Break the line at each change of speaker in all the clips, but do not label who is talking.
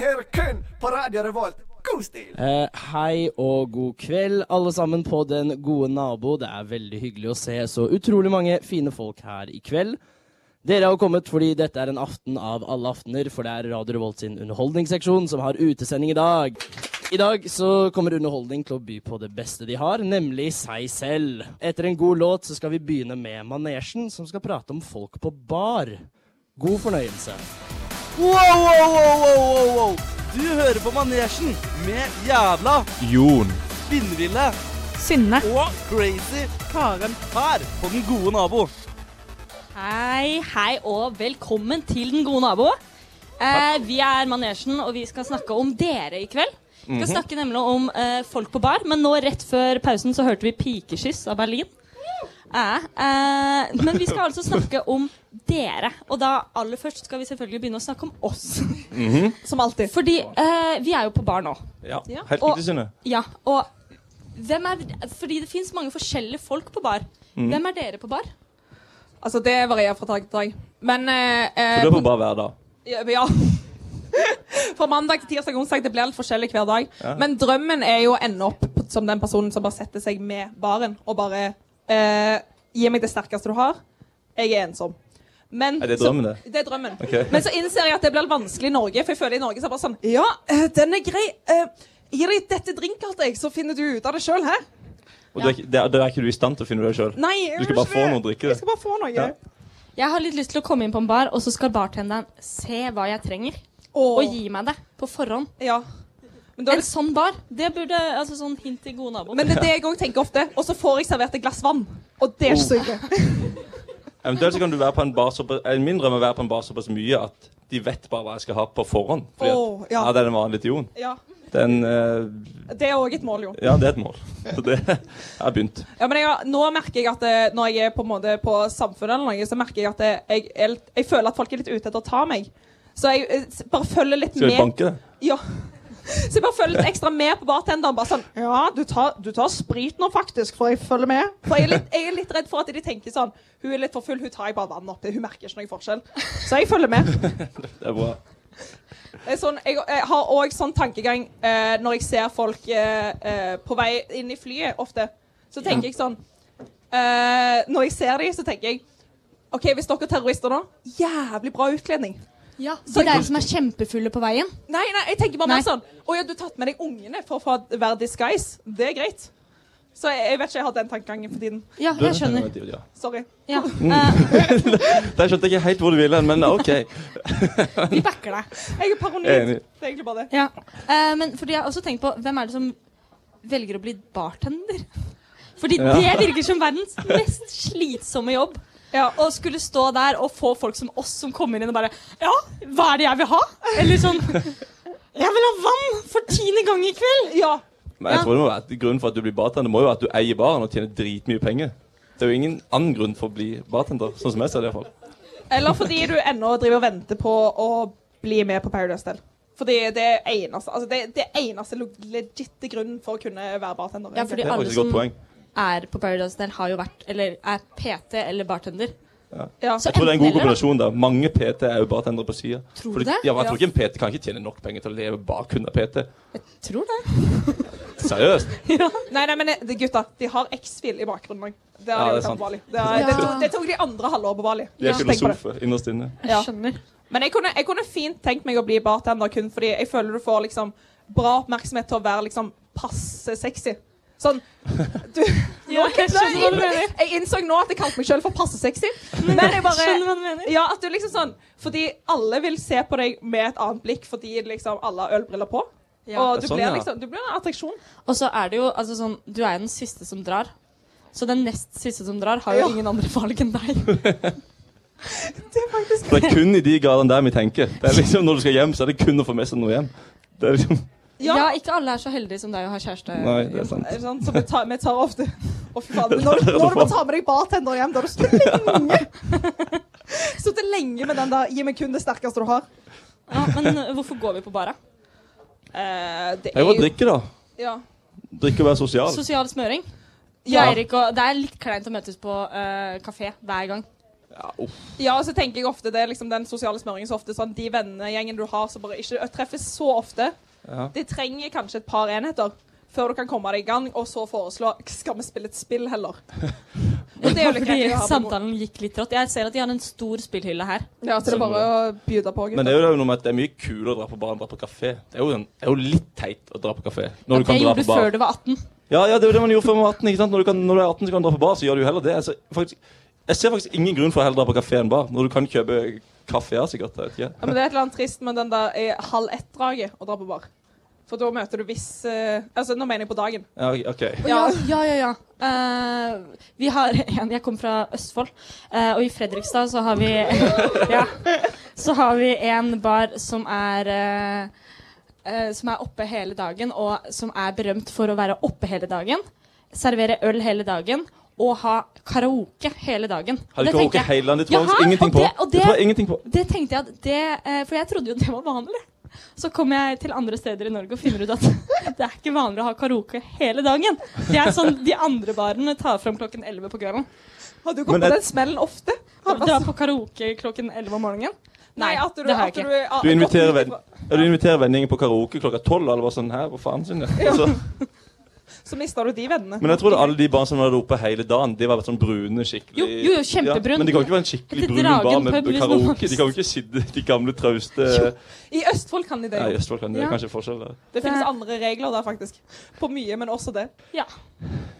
Her kun på Radio Revolt. God stil!
Eh, hei og god kveld, alle sammen på Den gode nabo. Det er veldig hyggelig å se så utrolig mange fine folk her i kveld. Dere har kommet fordi dette er en aften av alle aftener, for det er Radio Revolt sin underholdningsseksjon som har utesending i dag. I dag så kommer underholdning til å by på det beste de har, nemlig seg selv. Etter en god låt så skal vi begynne med Manesjen, som skal prate om folk på bar. God fornøyelse. Wow, wow, wow, wow, wow, wow. Du hører på Manesjen med jævla
Jon.
spinnville
Synne.
og crazy Karen her på Den gode nabo.
Hei, hei og velkommen til Den gode nabo. Eh, vi er Manesjen, og vi skal snakke om dere i kveld. Vi
Mhm.
skal snakke nemlig om eh, folk på bar, men nå rett før pausen så hørte vi 'Pikeskyss' av Berlin. Eh, eh, men vi skal altså snakke om dere, og da aller først skal vi selvfølgelig begynne å snakke om oss.
Som alltid.
Fordi eh, vi er jo på bar nå.
Mhm. Ja,
Ja.
helt
Og-
riktig, Synne.
Ja, og hvem er Fordi det fins mange forskjellige folk på bar.
Mhm.
Hvem er dere på bar?
Altså, det varierer fra dag til dag. Men eh, eh,
Du er på bar hver dag.
Ja. ja. Fra mandag til tirsdag og onsdag. Det blir litt forskjellig hver dag. Men drømmen er jo å ende opp på- som den personen som bare setter seg med baren og bare eh, Gi meg det sterkeste du har. Jeg er ensom. Men,
Er det
så-
drømmen, det?
Det er drømmen.
Ok.
Men så innser jeg at det blir litt vanskelig i Norge, for jeg føler i Norge så er det bare sånn Ja, eh, den er grei. Eh, gi deg dette drinkkartet, jeg, så finner du ut av det sjøl, hæ?
Og det er, ikke- det, er, det er ikke du i stand til å finne det sjøl.
Nei. jeg
Du skal
gjør
bare
ikke
få noe å drikke,
Jeg skal bare få noe.
Ja.
Jeg har litt lyst til å komme inn på en bar, og så skal bartenderen se hva jeg trenger,
Åh.
og gi meg det på forhånd.
Ja. Men, da er
En
det,
sånn bar, det burde altså sånn hint til gode naboer.
men det er det jeg òg tenker ofte. Og så får jeg servert et glass vann. Og
Oh.
det er ikke så gøy.
Eventuelt så kan du være på en bar såpass eh, Min drøm er å være på en bar såpass mye at de vet bare hva jeg skal ha på forhånd. Fordi at,
Åh,
ja.
ja.
det er den vanlige til Jon.
Ja.
Den eh,
Det er òg et mål, jo.
Ja, det er et mål. Så det Jeg har begynt.
Ja, men jeg, har- nå merker jeg at eh, når jeg er på, en måte på samfunnet eller noe, så merker jeg at eh, jeg, er litt- jeg føler at folk er litt ute etter å ta meg. Så jeg eh, s- bare følger litt
Skal vi
med.
banke det?
Ja. Så jeg bare følger litt ekstra med på bartenderen. Bare sånn Ja, du tar, du tar sprit nå, faktisk, for jeg følger med. For jeg er, litt, jeg er litt redd for at de tenker sånn Hun er litt for full, hun tar jeg bare vann oppi. Hun merker ikke noen forskjell. Så jeg følger med.
Det er bra.
Det er sånn, jeg, jeg har òg sånn tankegang eh, når jeg ser folk eh, eh, på vei inn i flyet ofte. Så tenker jeg sånn eh, Når jeg ser dem, så tenker jeg OK, hvis dere er terrorister nå, jævlig bra utkledning.
Ja, de der som er kjempefulle på veien.
Nei, nei, jeg tenker bare mer
Nei.
sånn Å ja, du har tatt med deg ungene for å få være disguise. Det er greit. Så jeg, jeg vet ikke, jeg har den tankegangen for tiden.
Ja, jeg skjønner.
Ja.
Sorry.
Ja. Eh,
Der skjønte jeg ikke helt hvor du ville hen, men OK.
vi backer deg.
Jeg er paranoid.
Enig.
Det er egentlig bare det.
Ja. Eh, men fordi jeg har også tenkt på hvem er det som velger å bli bartender? Fordi
Ja.
det virker som verdens mest slitsomme jobb.
Ja,
Å skulle stå der og få folk som oss som kommer inn og bare Ja, hva er det jeg vil ha? Eller sånn Jeg vil ha vann for tiende gang i kveld!
ja.
Men jeg
Ja.
tror det må være at grunnen for at du blir bartender, må jo være at du eier baren og tjener dritmye penger. Det er jo ingen annen grunn for å bli bartender, sånn som jeg ser det iallfall.
Eller fordi du ennå driver og venter på å bli med på Paradise Del. Fordi det er eneste, altså det, det er eneste lo- legitte grunnen for å kunne være bartender.
Ja, fordi
Det er
alle
faktisk et godt
som
poeng.
er på Paradise Del, har jo vært Eller er PT eller bartender.
Ja.
Så
Jeg tror det er en
enten
god
eller,
kombinasjon. da Mange PT er jo bartendere på sida.
Tror du det?
Ja, men jeg tror ikke en PT kan ikke tjene nok penger til å leve bare kun av PT.
da. Tror det.
Seriøst.
Nei, nei, men det, gutta, de har X-Fil i bakgrunnen òg. Det,
Ja,
har de
det er
gjort
sant.
på Bali. det, er- det,
Ja.
tok- det tok de andre halvåret på Bali.
De er
Ja. Tenk på
filosofer innerst inne.
Ja.
Skjønner.
det. Men jeg kunne, jeg kunne fint tenkt meg å bli bartender kun fordi jeg føler du får liksom bra oppmerksomhet til å være liksom passe sexy. Sånn du,
Ja, jeg skjønner hva du
Nei,
mener.
Jeg innså nå at jeg kalte meg selv for passe sexy. Men jeg bare
Skjønner hva du mener.
Ja, at du liksom sånn Fordi alle vil se på deg med et annet blikk fordi liksom alle har ølbriller på.
Ja.
Og du
Sånn,
blir
ja.
liksom Du blir en attraksjon.
Og så er det jo altså sånn Du er jo den siste som drar. Så den nest siste som drar, har jo
Ja.
ingen andre valg enn deg.
For det er kun i de gradene der vi tenker. Det er liksom Når du skal hjem, så er det kun å få med seg noe hjem. Det er liksom
Ja.
Ja.
ikke alle er så heldige som deg og har kjæreste.
Nei, det er sant.
Er det sant? Så vi tar, vi tar ofte Å, fy faen. Men når, når du må ta med deg bartender hjem, da har du sittet lenge. Sittet lenge med den der 'gi meg kun det sterkeste du har'.
Ja, men øh, hvorfor går vi på bara?
Eh, det
Jeg må drikke, da.
ja.
Drikke og være sosial.
Sosial smøring? Greier ikke å Det er litt kleint å møtes på eh, kafé hver gang.
Ja, og så tenker jeg ofte det er liksom den sosiale smøringen så ofte sånn, De vennegjengen du har som bare ikke treffes så ofte,
Ja.
de trenger kanskje et par enheter før du kan komme deg i gang, og så foreslå Skal vi spille et spill, heller? Og det er jo litt
Fordi
greit å ha på bordet.
samtalen gikk litt rått. Jeg ser at de har en stor spillhylle her.
Ja, så det er bare å bjude på.
Men det er jo noe med at det er mye kulere å dra på bar enn å dra på kafé. Det er jo, en, det er jo litt teit å dra på kafé når du
Det
kan dra
gjorde
på
du
bar.
før du var 18.
Ja, ja, det er jo det man gjorde før man var 18. ikke sant? Når du, kan, når du er 18, så kan du dra på bar, så gjør du jo heller det. Altså, faktisk, jeg ser faktisk ingen grunn for å heller dra på kafé enn bar, når du kan kjøpe kaffe, ja, sikkert. Jeg vet ikke.
Ja, men det er et eller annet trist med den der i halv ett-draget å dra på bar. For da møter du viss eh, Altså, nå mener jeg på dagen.
Ja, ok.
Ja, ja, ja. ja. Eh, vi har en Jeg kommer fra Østfold, eh, og i Fredrikstad så har vi ja, Så har vi en bar som er eh, eh, Som er oppe hele dagen, og som er berømt for å være oppe hele dagen. Servere øl hele dagen og ha karaoke hele dagen.
Har de
Det
karaoke
tenker jeg-
hele landet? Det tror jeg
Jaha,
faktisk
og
ingenting på.
det- og
Det
det-
tror jeg ingenting på.
Det tenkte jeg at det, eh, For jeg trodde jo det var vanlig. Så kom jeg til andre steder i Norge og finner ut at det er ikke vanlig å ha karaoke hele dagen. Det er sånn de andre barene tar fram klokken 11 på kvelden.
Har du
Men
gått på
et-
den smellen ofte? Halvard?
Dra på karaoke klokken 11 om morgenen. Nei,
Ah, altså. at du,
det har
at
jeg ikke.
Du, ah,
Du inviterer,
gått
venn,
ut
ja, du inviterer vennegjengen på karaoke klokka tolv, og alle var sånn her, hva faen sin det? Så,
ifra- Så mister du de vennene.
men jeg tror alle de barna som var der oppe hele dagen, de var sånn brune, skikkelig
Jo, jo, jo, kjempebrun.
Men det kan ikke være en skikkelig
Etter
brun bar
Dragen
med
pub, hvis man har
karaoke.
lyst.
De kan jo ikke sitte de gamle, trauste
I Østfold kan de det.
Nei, i
jo.
Østfold kan det
Ja. Eh,
kanskje forskjell der.
Det finnes andre regler der, faktisk. På mye, men også det.
Ja.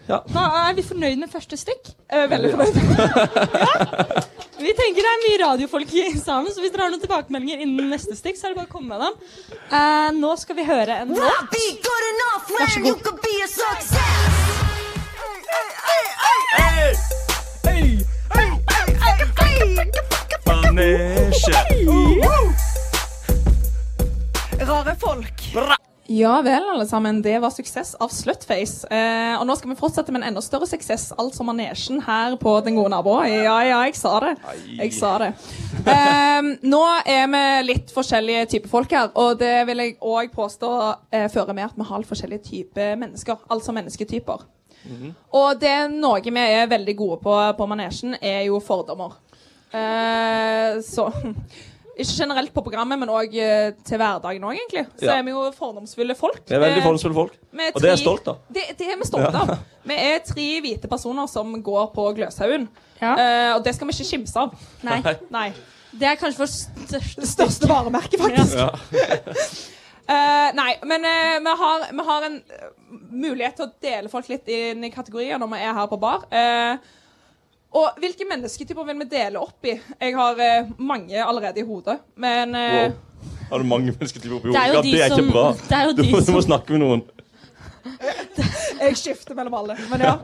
Ja.
Da er vi fornøyd med første stykk.
Jeg er veldig fornøyd.
Vi tenker det er mye radiofolk i salen, så hvis dere har noen tilbakemeldinger innen neste stykk, så er det bare å komme med dem. Eh, nå skal vi høre en låt.
Be good enough when you could be a success.
Rare folk. Ja vel, alle sammen. Det var suksess av Slutface. Eh, og nå skal vi fortsette med en enda større suksess, altså manesjen her på Den gode nabo. Ja, ja, jeg sa det. Jeg sa det. Eh, nå er vi litt forskjellige typer folk her, og det vil jeg òg påstå eh, fører med at vi har litt forskjellige typer mennesker, altså mennesketyper.
Mhm.
Og det er noe vi er veldig gode på på manesjen, er jo fordommer. Eh, så Ikke generelt på programmet, men òg til hverdagen òg, egentlig. Så
Ja.
er vi jo fordomsfulle folk.
Det er veldig
Eh,
fordomsfulle folk.
vi
Og det er jeg
tre-
stolt av.
Det, det er vi stolte av. Vi er tre hvite personer som går på Gløshaugen.
Ja.
Eh, og det skal vi ikke kimse av.
Nei.
Nei.
Det er kanskje vår største
Det største varemerket, faktisk.
Ja.
Eh, nei, men eh, vi, har, vi har en eh, mulighet til å dele folk litt inn i kategorier når vi er her på bar. Eh, og hvilke mennesketyper vil vi dele opp i? Jeg har eh, mange allerede i hodet, men eh,
Wow. Har du mange mennesketyper oppi
Det
hodet?
er jo
Ja,
de
det er
som-
ikke bra.
det er jo
Du
de
må, du
som-
må snakke med noen.
jeg skifter mellom alle. Men ja.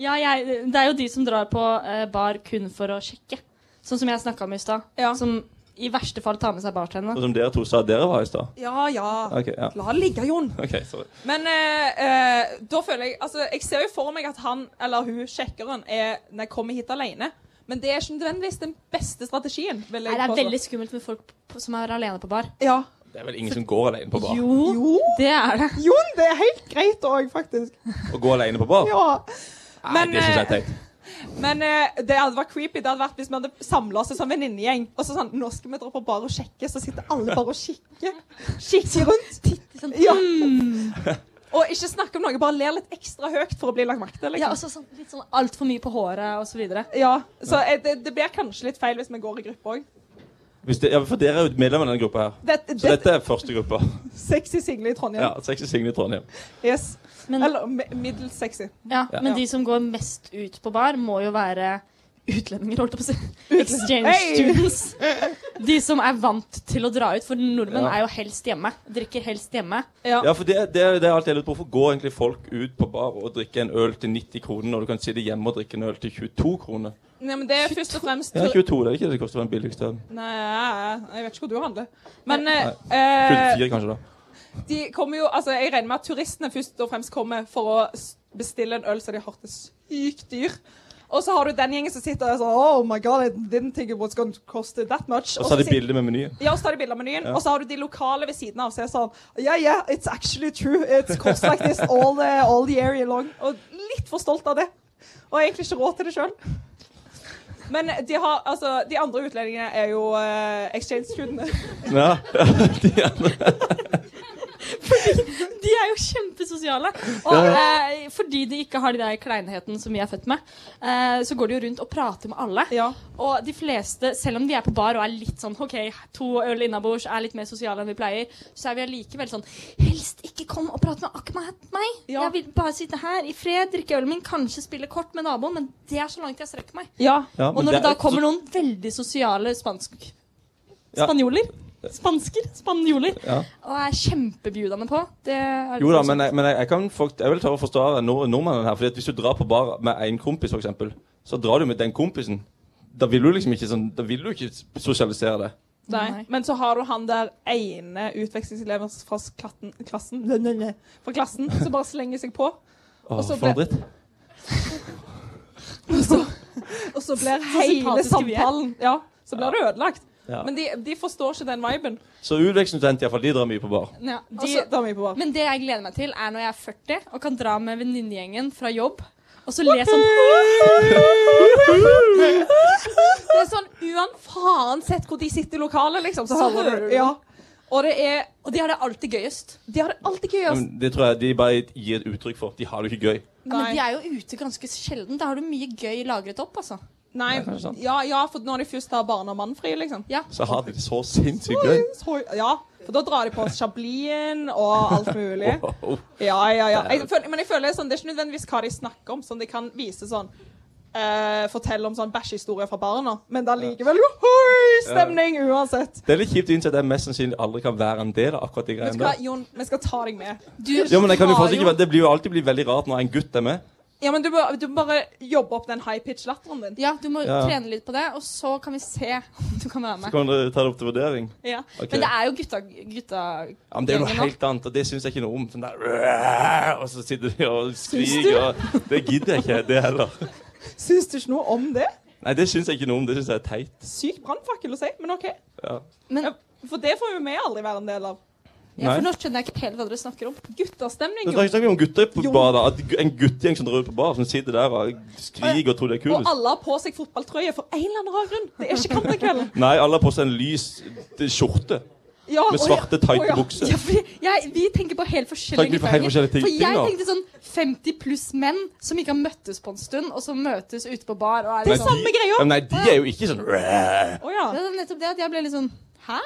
Ja, jeg, det er jo de som drar på eh, bar kun for å sjekke. Sånn som jeg snakka om i stad.
Ja.
Som i verste fall tar med seg bartenderen.
Sånn som dere to sa at dere var i stad.
ja, ja.
Ok, ja.
La det ligge, Jon.
Ok, sorry.
Men eh, eh, da føler jeg Altså, jeg ser jo for meg at han eller hun sjekkeren er Nei, kommer hit alene. Men det er ikke nødvendigvis den beste strategien. Vil
Nei,
jeg
det er
påstå.
veldig skummelt med folk på, som er alene på bar.
ja.
Det er vel ingen som går alene på bar?
Jo,
Jo,
det er det.
Jon, det er helt greit òg, faktisk.
Å gå alene på bar?
Ja.
Nei,
Men,
det syns jeg er
eh,
teit.
men eh, det hadde vært creepy Det hadde vært hvis vi hadde samla oss som venninnegjeng. Og så sånn Nå skal vi dra på bar og sjekke, så sitter alle bare og kikker. Kikker rundt.
Sånn,
Ja. hmm. Og ikke snakke om noe, bare le litt ekstra høyt for å bli lagt merke til.
ja, og
Liksom.
så sånn, litt sånn altfor mye på håret og så videre.
Ja, så eh, det, det blir kanskje litt feil hvis vi går i gruppe òg.
Hvis det, ja, for dere er jo medlem av denne gruppa her.
Det,
Så
det,
dette er første gruppa.
sexy single i
Ja,
Trondheim.
Sexy Signe i Trondheim.
Yes.
Men,
Eller mi- middels sexy.
ja, men
Ja.
de som går mest ut på bar, må jo være utlendinger, holdt jeg på å si. Exchange
Hey!
students. De som er vant til å dra ut, for nordmenn
Ja.
er jo helst hjemme. Drikker helst hjemme.
Ja, for det, det, er- det er alt jeg lurer på. Hvorfor går egentlig folk ut på bar og drikker en øl til 90 kroner, når du kan sitte hjemme og drikke en øl til 22 kroner?
Nei, men det er først og fremst
Ja, 22, det er ikke det det koster den billigste ølen.
Nei, jeg vet ikke hvor du handler. Men eh, eh,
24 kanskje, da.
De kommer jo, altså Jeg regner med at turistene først og fremst kommer for å s- bestille en øl som de har hørt er sykt dyr. Og så har du den gjengen som sitter og er sånn Oh my god, I didn't think it was going to cost that much.
Og så har de
sit-
bilde med menyen.
Ja, og så tar de bilder av menyen.
Ja.
Og så har du de lokale ved siden av som er sånn Yeah, yeah, it's actually true. It's cost like this all the, all the area long. Og litt for stolt av det. Og har egentlig ikke råd til det sjøl. Men de, har, altså, de andre utlendingene er jo eh, exchange-kundene.
Ja.
De er jo kjempesosiale. Og eh, fordi de ikke har de der kleinheten som vi er født med, eh, så går de jo rundt og prater med alle.
Ja.
Og de fleste, selv om de er på bar og er litt sånn OK, to øl innabords, er litt mer sosiale enn vi pleier, så er vi allikevel sånn Helst ikke kom og prat med akkurat meg.
Ja.
Jeg vil bare sitte her i fred, drikke ølen min, kanskje spille kort med naboen, men det er så langt jeg strekker meg.
ja.
Ja,
Og
men
når det
er-
da kommer noen veldig sosiale spansk...
Ja.
Spanjoler. Spansker. Spanjoler.
Ja.
Og er kjempebjudende på. Det er
Jo da, men, jeg, men jeg, jeg, kan fakt- jeg vil tørre å forstå av nord nordmannen her. Fordi at Hvis du drar på bar med én kompis, for eksempel, så drar du med den kompisen. Da vil du liksom ikke sånn, da vil du ikke sosialisere det.
Nei.
Nei.
Men så har du han der ene utvekslingseleven fra s- klatten, klassen, fra klassen som bare slenger seg på.
Åh,
Og så
for en
ble-
dritt.
Og så blir hele
sympatiske vi er.
samtalen ja, Så blir det ødelagt.
Ja.
Men de, de forstår ikke den viben. Altså-
Så utvekslingsstudenter iallfall, de drar mye på bar.
ja, de,
Og så drar vi på bar.
Men det jeg gleder meg til, er når jeg er 40 og kan dra med venninnegjengen fra jobb. Og så le sånn
Det er sånn uansett hvor de sitter i lokalet, liksom. Så hører du ja. Og det er
Og de har det alltid gøyest.
De har det alltid gøy. ass.
Men det tror jeg de bare gir et uttrykk for. De har det ikke gøy.
Ja, men de
Nei.
er jo ute ganske sjelden. Da har du mye gøy lagret opp, altså.
Nei. Ja, ja, for når de først har barne- og mannfri, liksom.
Ja.
Så har de det så sinnssykt gøy.
Så, ja, for da drar de på Chablien og alt mulig.
Wow.
Ja, ja, ja. Jeg føler, men jeg føler sånn, det er ikke nødvendigvis hva de snakker om. Sånn, de kan vise sånn eh, Fortelle om sånn bæsjehistorier fra barna. Men det er likevel johoi, stemning uansett.
Det er litt kjipt å innse at jeg mest sannsynlig aldri kan være en del av akkurat de
Vet
greiene
du hva,
der.
Jon, vi skal ta deg med.
Du
Ja, men jeg kan jo
har
fortsatt ikke være- Det blir jo alltid blir veldig rart når en gutt er med.
Ja, men Du må, du må bare jobbe opp den high pitch-latteren din.
Ja, du må
Ja.
trene litt på det, og så kan vi se om du kan være
Så
med.
kan dere ta det opp til vurdering.
Ja.
Ok.
Men det er jo gutta, gutta
Ja, men Det er noe
gjengen nå.
helt annet, og det syns jeg ikke noe om. Sånn der, «Åh!» og så sitter de og skriker. Og det gidder jeg ikke, det heller.
Syns du ikke noe om det?
Nei, det syns jeg ikke noe om. Det syns jeg er teit.
Sykt brannfakkel å si, men OK.
Ja.
Men
Ja, For det får jo vi aldri være en del av.
ja, for
Nei.
nå skjønner jeg ikke helt hva dere snakker om.
Guttastemning,
Det
jo.
snakker vi om gutter på
Jo.
bar, da. At en guttegjeng som drar ut på bar, som sitter der og skriker og tror det er
Og
kulest.
alle har på seg fotballtrøye for en eller annen rar grunn. Det er ikke Kantakvelden.
Nei, alle har på seg en lys eh, skjorte
Ja,
med
å ja,
svarte, tighte
å ja.
bukser.
Ja, fordi jeg, vi tenker på helt forskjellige
Tenker vi på helt
gutteganger.
forskjellige ting-
For jeg
ting, da?
tenkte sånn 50 pluss menn som ikke har møttes på en stund, og som møtes ute på bar. Og er
Nei,
litt sånn,
samme greia.
Ja, men nei, de er jo ikke sånn «Åh!»
Å ja.
det er nettopp det at jeg ble litt sånn Hæ?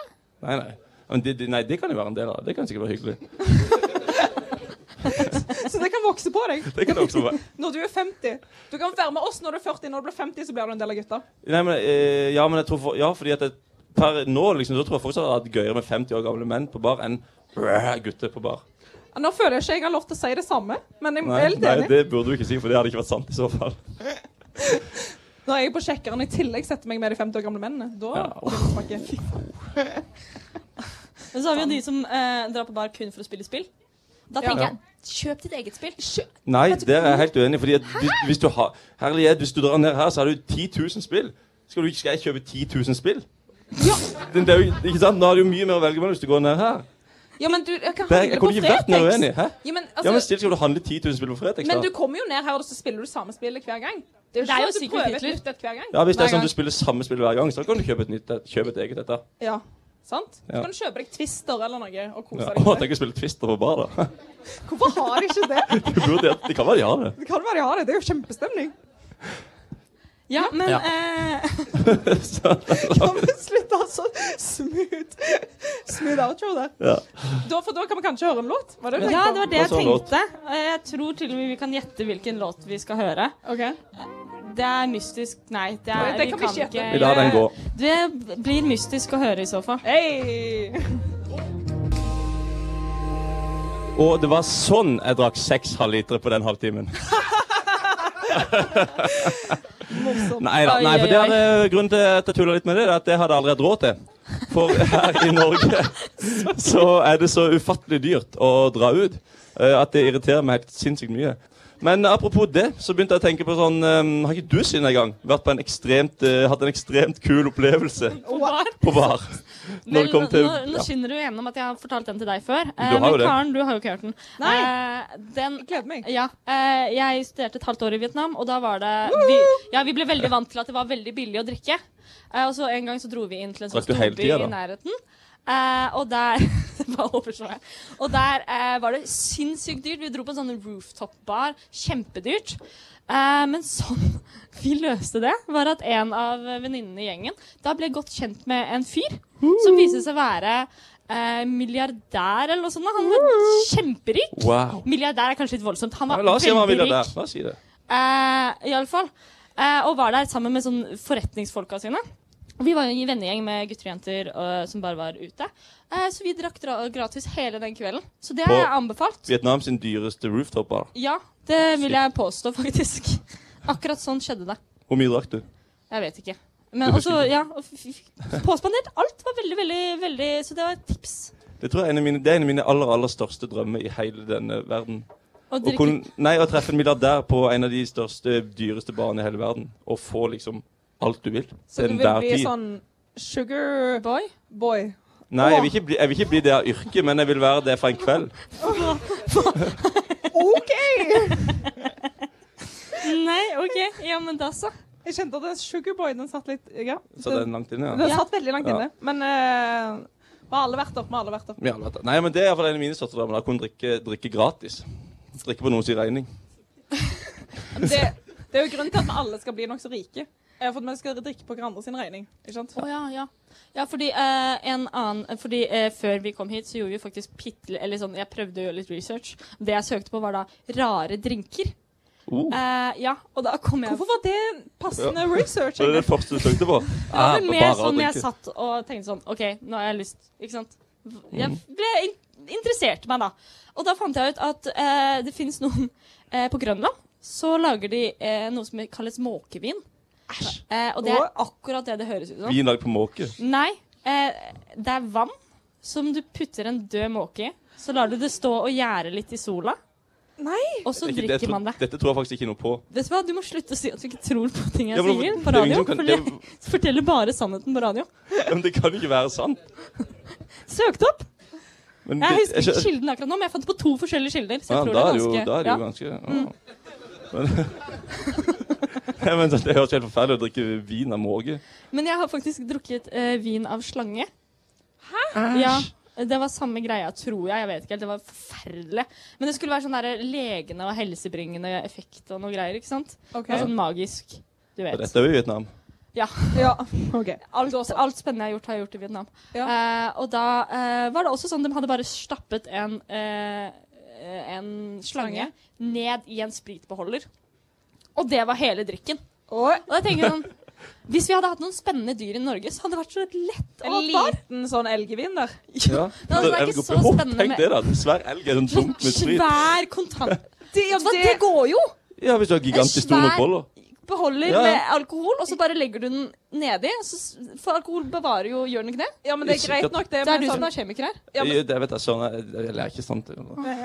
Nei, nei. Men det, det, nei, det kan jo være en del av. Det kan sikkert være hyggelig.
Så det kan vokse på deg.
Det kan det også være.
Når du er 50. Du kan være med oss når du er 40. Når du blir 50, så blir du en del av gutta.
Nei, men, eh, ja, men jeg tror for, Ja, fordi at jeg, per nå liksom, så tror jeg fortsatt jeg har hatt gøyere med 50 år gamle menn på bar enn «Åh!» gutter på bar.
Nå føler jeg ikke jeg har lov til å si det samme, men jeg er
Nei,
helt
nei,
enig.
det burde du ikke si, for det hadde ikke vært sant i så fall.
Når jeg er på sjekkeren i tillegg setter meg med de 50 år gamle mennene, da
Ja,
blir det smakke.
Men så har vi jo de som eh, drar på bar kun for å spille spill. Da
Ja.
tenker jeg kjøp ditt eget spill.
Nei, der er jeg helt uenig. Fordi at hvis, hvis du har Herlighet, hvis du drar ned her, så har du 10 000 spill. Skal, du, ikke- skal jeg kjøpe 10 000 spill? Det, det er jo, ikke sant? Nå har du jo mye mer å velge mellom hvis du går ned her.
Ja, men du, jeg kan
Det,
handle
jeg
det på
kunne ikke vært mer uenig.
Fretex.
Hæ?
Ja, men,
Ja, men
altså,
still skal du handle 10 000 spill på Fretex,
men du
da.
kommer jo ned her, og så spiller du samme spillet hver gang. Det er
Det er
jo sånn
jo
at du
Secret
prøver et
Hitler.
nytt et hver gang.
Ja, hvis det
Hver
er sånn
gang.
at du spiller samme spill hver gang, så kan du kjøpe et, nytt, kjøpe et eget et. da.
Ja, sant? Så
Ja.
kan du kjøpe deg Twister eller noe og kose
Ja.
deg.
Å,
med det.
tenk å spille Twister på bar, da.
Hvorfor har de ikke det?
Det burde, det kan være de har det.
Det kan være de har det. Det er jo kjempestemning.
Ja, men
Ja.
eh,
Så,
Kan vi slutte å ha så smooth, smooth outro der?
ja.
Da, for da kan vi kanskje høre en låt? Var det du
ja,
tenkte
det
på?
var det jeg
Hva sa låt?
tenkte. Og Jeg tror til og med vi kan gjette hvilken låt vi skal høre.
Ok.
Det er mystisk Nei, det, er,
Nei, det kan vi ikke gjette.
Vi lar den gå.
Det blir mystisk å høre i så fall.
Hey!
Og det var sånn jeg drakk seks halvlitere på den halvtimen. Nei da. Nei, for det hadde, grunnen til at jeg tulla litt med det, er at det hadde jeg aldri hatt råd til. For her i Norge så er det så ufattelig dyrt å dra ut eh, at det irriterer meg helt sinnssykt mye. Men apropos det, så begynte jeg å tenke på sånn eh, Har ikke du siden en gang vært på en ekstremt, eh, hatt en ekstremt kul opplevelse
What?
på bar? Når det
Vel,
kommer til
nå, nå
ja.
skinner du gjennom at jeg har fortalt den til deg før. Eh,
har jo
men
det.
Karen, du har jo ikke hørt den.
Nei.
Eh, den
gleder meg.
Ja, eh, jeg studerte et halvt år i Vietnam, og da var det vi, ja, vi ble veldig vant til at det var veldig billig å drikke. Eh, og så en gang så dro vi inn til en sånn
Drakk du hele
storby
tida,
i nærheten. Eh, og der Bare overslå jeg. Og der eh, var det sinnssykt dyrt. Vi dro på en sånn rooftop-bar. Kjempedyrt. Eh, men sånn vi løste det, var at en av venninnene i gjengen da ble godt kjent med en fyr som viste seg å være eh, milliardær eller noe sånt. da. Han var kjemperik.
Wow.
Milliardær er kanskje litt voldsomt. Han
Ja,
var
la oss si hva han ville
veldig
der.
rik.
La oss si det.
Eh, i alle fall. Eh, og var der sammen med sånn forretningsfolka sine. Vi var jo en vennegjeng med gutter og jenter eh, som bare var ute. Eh, så vi drakk dra gratis hele den kvelden. Så det har
På-
jeg anbefalt.
Vietnam sin dyreste rooftop-bar.
Ja, det vil jeg påstå, faktisk. Akkurat sånn skjedde det.
Hvor mye drakk du?
Jeg vet ikke. Men også, ja, og f- f- påspandert. Alt var veldig, veldig, veldig Så det var et tips.
Det tror jeg er en av mine, det er en av mine aller aller største drømmer i hele denne verden.
Og
Å kun, nei, å treffe en milliardær på en av de største, dyreste barene i hele verden. Og få liksom alt du vil.
Så du
til
vil
enhver
bli
tid.
sånn sugar
Boy?
boy.
Nei, jeg vil, ikke bli, jeg vil ikke bli det av yrke, men jeg vil være det for en kveld.
OK!
Nei, OK. Ja, men da så.
Jeg kjente at den sugar boy, den satt litt Ja.
Så den langt inne, ja.
Den satt veldig langt
Ja.
inne. Men eh, vi har alle vært opp, vi har alle vært opp.
Ja, vet du. Nei, men Det er iallfall en av mine største drømmer. Da kunne drikke, drikke gratis. Drikke på noens regning.
Det, det er jo grunnen til at vi alle skal bli nokså rike. Eh, For at vi skal drikke på hverandre sin regning. Ikke sant?
Å ja, ja. Ja, fordi eh, en annen Fordi eh, før vi kom hit, så gjorde vi faktisk pittel... Eller sånn, jeg prøvde å gjøre litt research. Det jeg søkte på, var da rare drinker.
Uh,
Eh, ja, og da kom jeg
Hvorfor var det passende research?
Så det er
egentlig?
det første du søkte på?
Det var vel
Ah,
mer
bare å
sånn jeg
drikke.
satt og tenkte sånn OK, nå har jeg lyst Ikke sant?
Mm.
Jeg ble in interessert meg, da. Og da fant jeg ut at eh, det finnes noen eh, På Grønland så lager de eh, noe som kalles måkevin. Eh, og det er akkurat det det høres ut som.
Vin lagd på måke.
Nei. Eh, det er vann som du putter en død måke i. Så lar du det stå og gjære litt i sola.
Nei.
Og så
Det er ikke-
drikker
jeg tror-
man det.
Dette tror jeg faktisk ikke noe på.
Vet du hva, Du må slutte å si at du ikke tror på ting jeg
Ja, men
sier
det
på
er jo
radio.
ingen som kan-
For
det er
jeg forteller bare sannheten på radio.
Men det kan jo ikke være sant.
Søkt opp!
Men det-
Jeg husker
skjø-
ikke kilden akkurat nå, men jeg fant det på to forskjellige kilder. Så jeg
Ja,
tror det
da er
er
det jo,
ganske...
da er det jo
ja. Mm.
ganske ja. Men, Nei, men Det høres helt forferdelig ut å drikke vin av måke.
Men jeg har faktisk drukket eh, vin av slange. Hæ? Ja, det var samme greia, tror jeg. Jeg vet ikke helt. Det var forferdelig. Men det skulle være sånn der legende og helsebringende effekt og noe greier. ikke sant?
Ok.
Det var sånn magisk. Du
Og
vet.
Dette er jo i Vietnam.
Ja. ok.
Alt, alt spennende jeg har gjort, har jeg gjort i Vietnam. Eh, og da eh, var det også sånn de hadde bare stappet en, eh, en slange
Slange?
ned i en spritbeholder. Og det var hele drikken.
Og
Og da tenker jeg sånn Hvis vi hadde hatt noen spennende dyr i Norge, så hadde det vært så lett
en
å ha et bar.
liten sånn elgevin der.
Ja.
altså, det er ikke så spennende
Tenk
med-
det, da. En svær elg er en dump med sprit.
Sånn Svær kontant...
Det, ja,
Hva, det går jo!
Ja, Hvis du har gigantisk stor nok
svær-
boller.
Beholder
Ja, ja.
med alkohol, og så bare legger du den nedi. Så, s- for alkohol bevarer jo Gjør den ikke det?
ja, men det er greit nok, det.
Det er
men
du
sånn-
som er kjemiker her.
Ja, men-
Jeg- Det vet jeg sånn søren, jeg, jeg lærer ikke sant.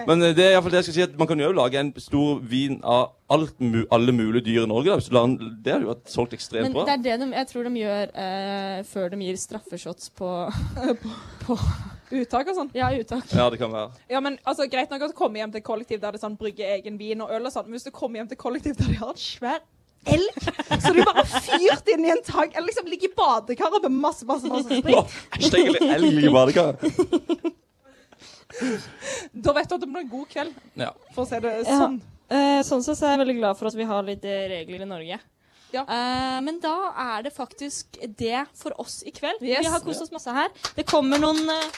Men eh, det er i hvert fall det jeg skal si at man kan jo også lage en stor vin av alt, mu- alle mulige dyr i Norge. da. Hvis du lar den, det hadde jo vært solgt
Men det
ekstremt bra.
er det de, jeg tror de gjør eh, før de gir straffeshots på
Uttak og sånn.
Ja, uttak.
Ja, det kan være.
Ja, men altså, Greit nok å komme hjem til et kollektiv der det sånn brygger egen vin og øl og sånn, men hvis du kommer hjem til et kollektiv der de har en svær elg, så du bare har fyrt inn i en tang, eller liksom ligger i badekaret med masse, masse, masse sprit,
Åh, Æsj, det er egentlig elg ligger i badekaret.
da vet du at det blir en god kveld,
Ja.
for å si det
Ja.
sånn.
Eh, sånn sett så er jeg veldig glad for at vi har litt eh, regler i Norge.
Ja.
Eh, men da er det faktisk det for oss i kveld.
Yes.
Vi har kost oss masse her. Det kommer noen eh,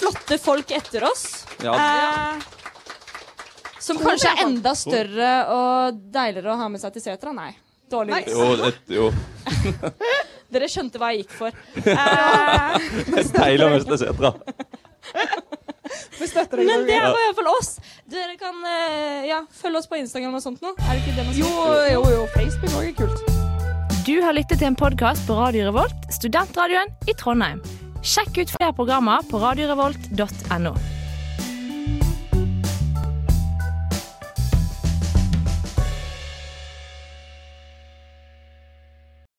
flotte folk etter oss.
Ja.
Eh, som kanskje er enda større og deiligere å ha med seg til setra. Nei. Dårlig.
Nei.
vits.
Jo, det, jo.
Dere skjønte hva jeg gikk for. Eh,
Deilig å møte setra.
Vi støtter deg.
men det var i hvert fall oss. Dere kan eh, ja, følge oss på Instagram og sånt nå. Er det ikke det man skal
Jo, jo, jo, Facebook også er kult.
Du har lyttet til en podkast på Radio Revolt, studentradioen i Trondheim. Sjekk ut flere programmer på radiorevolt.no.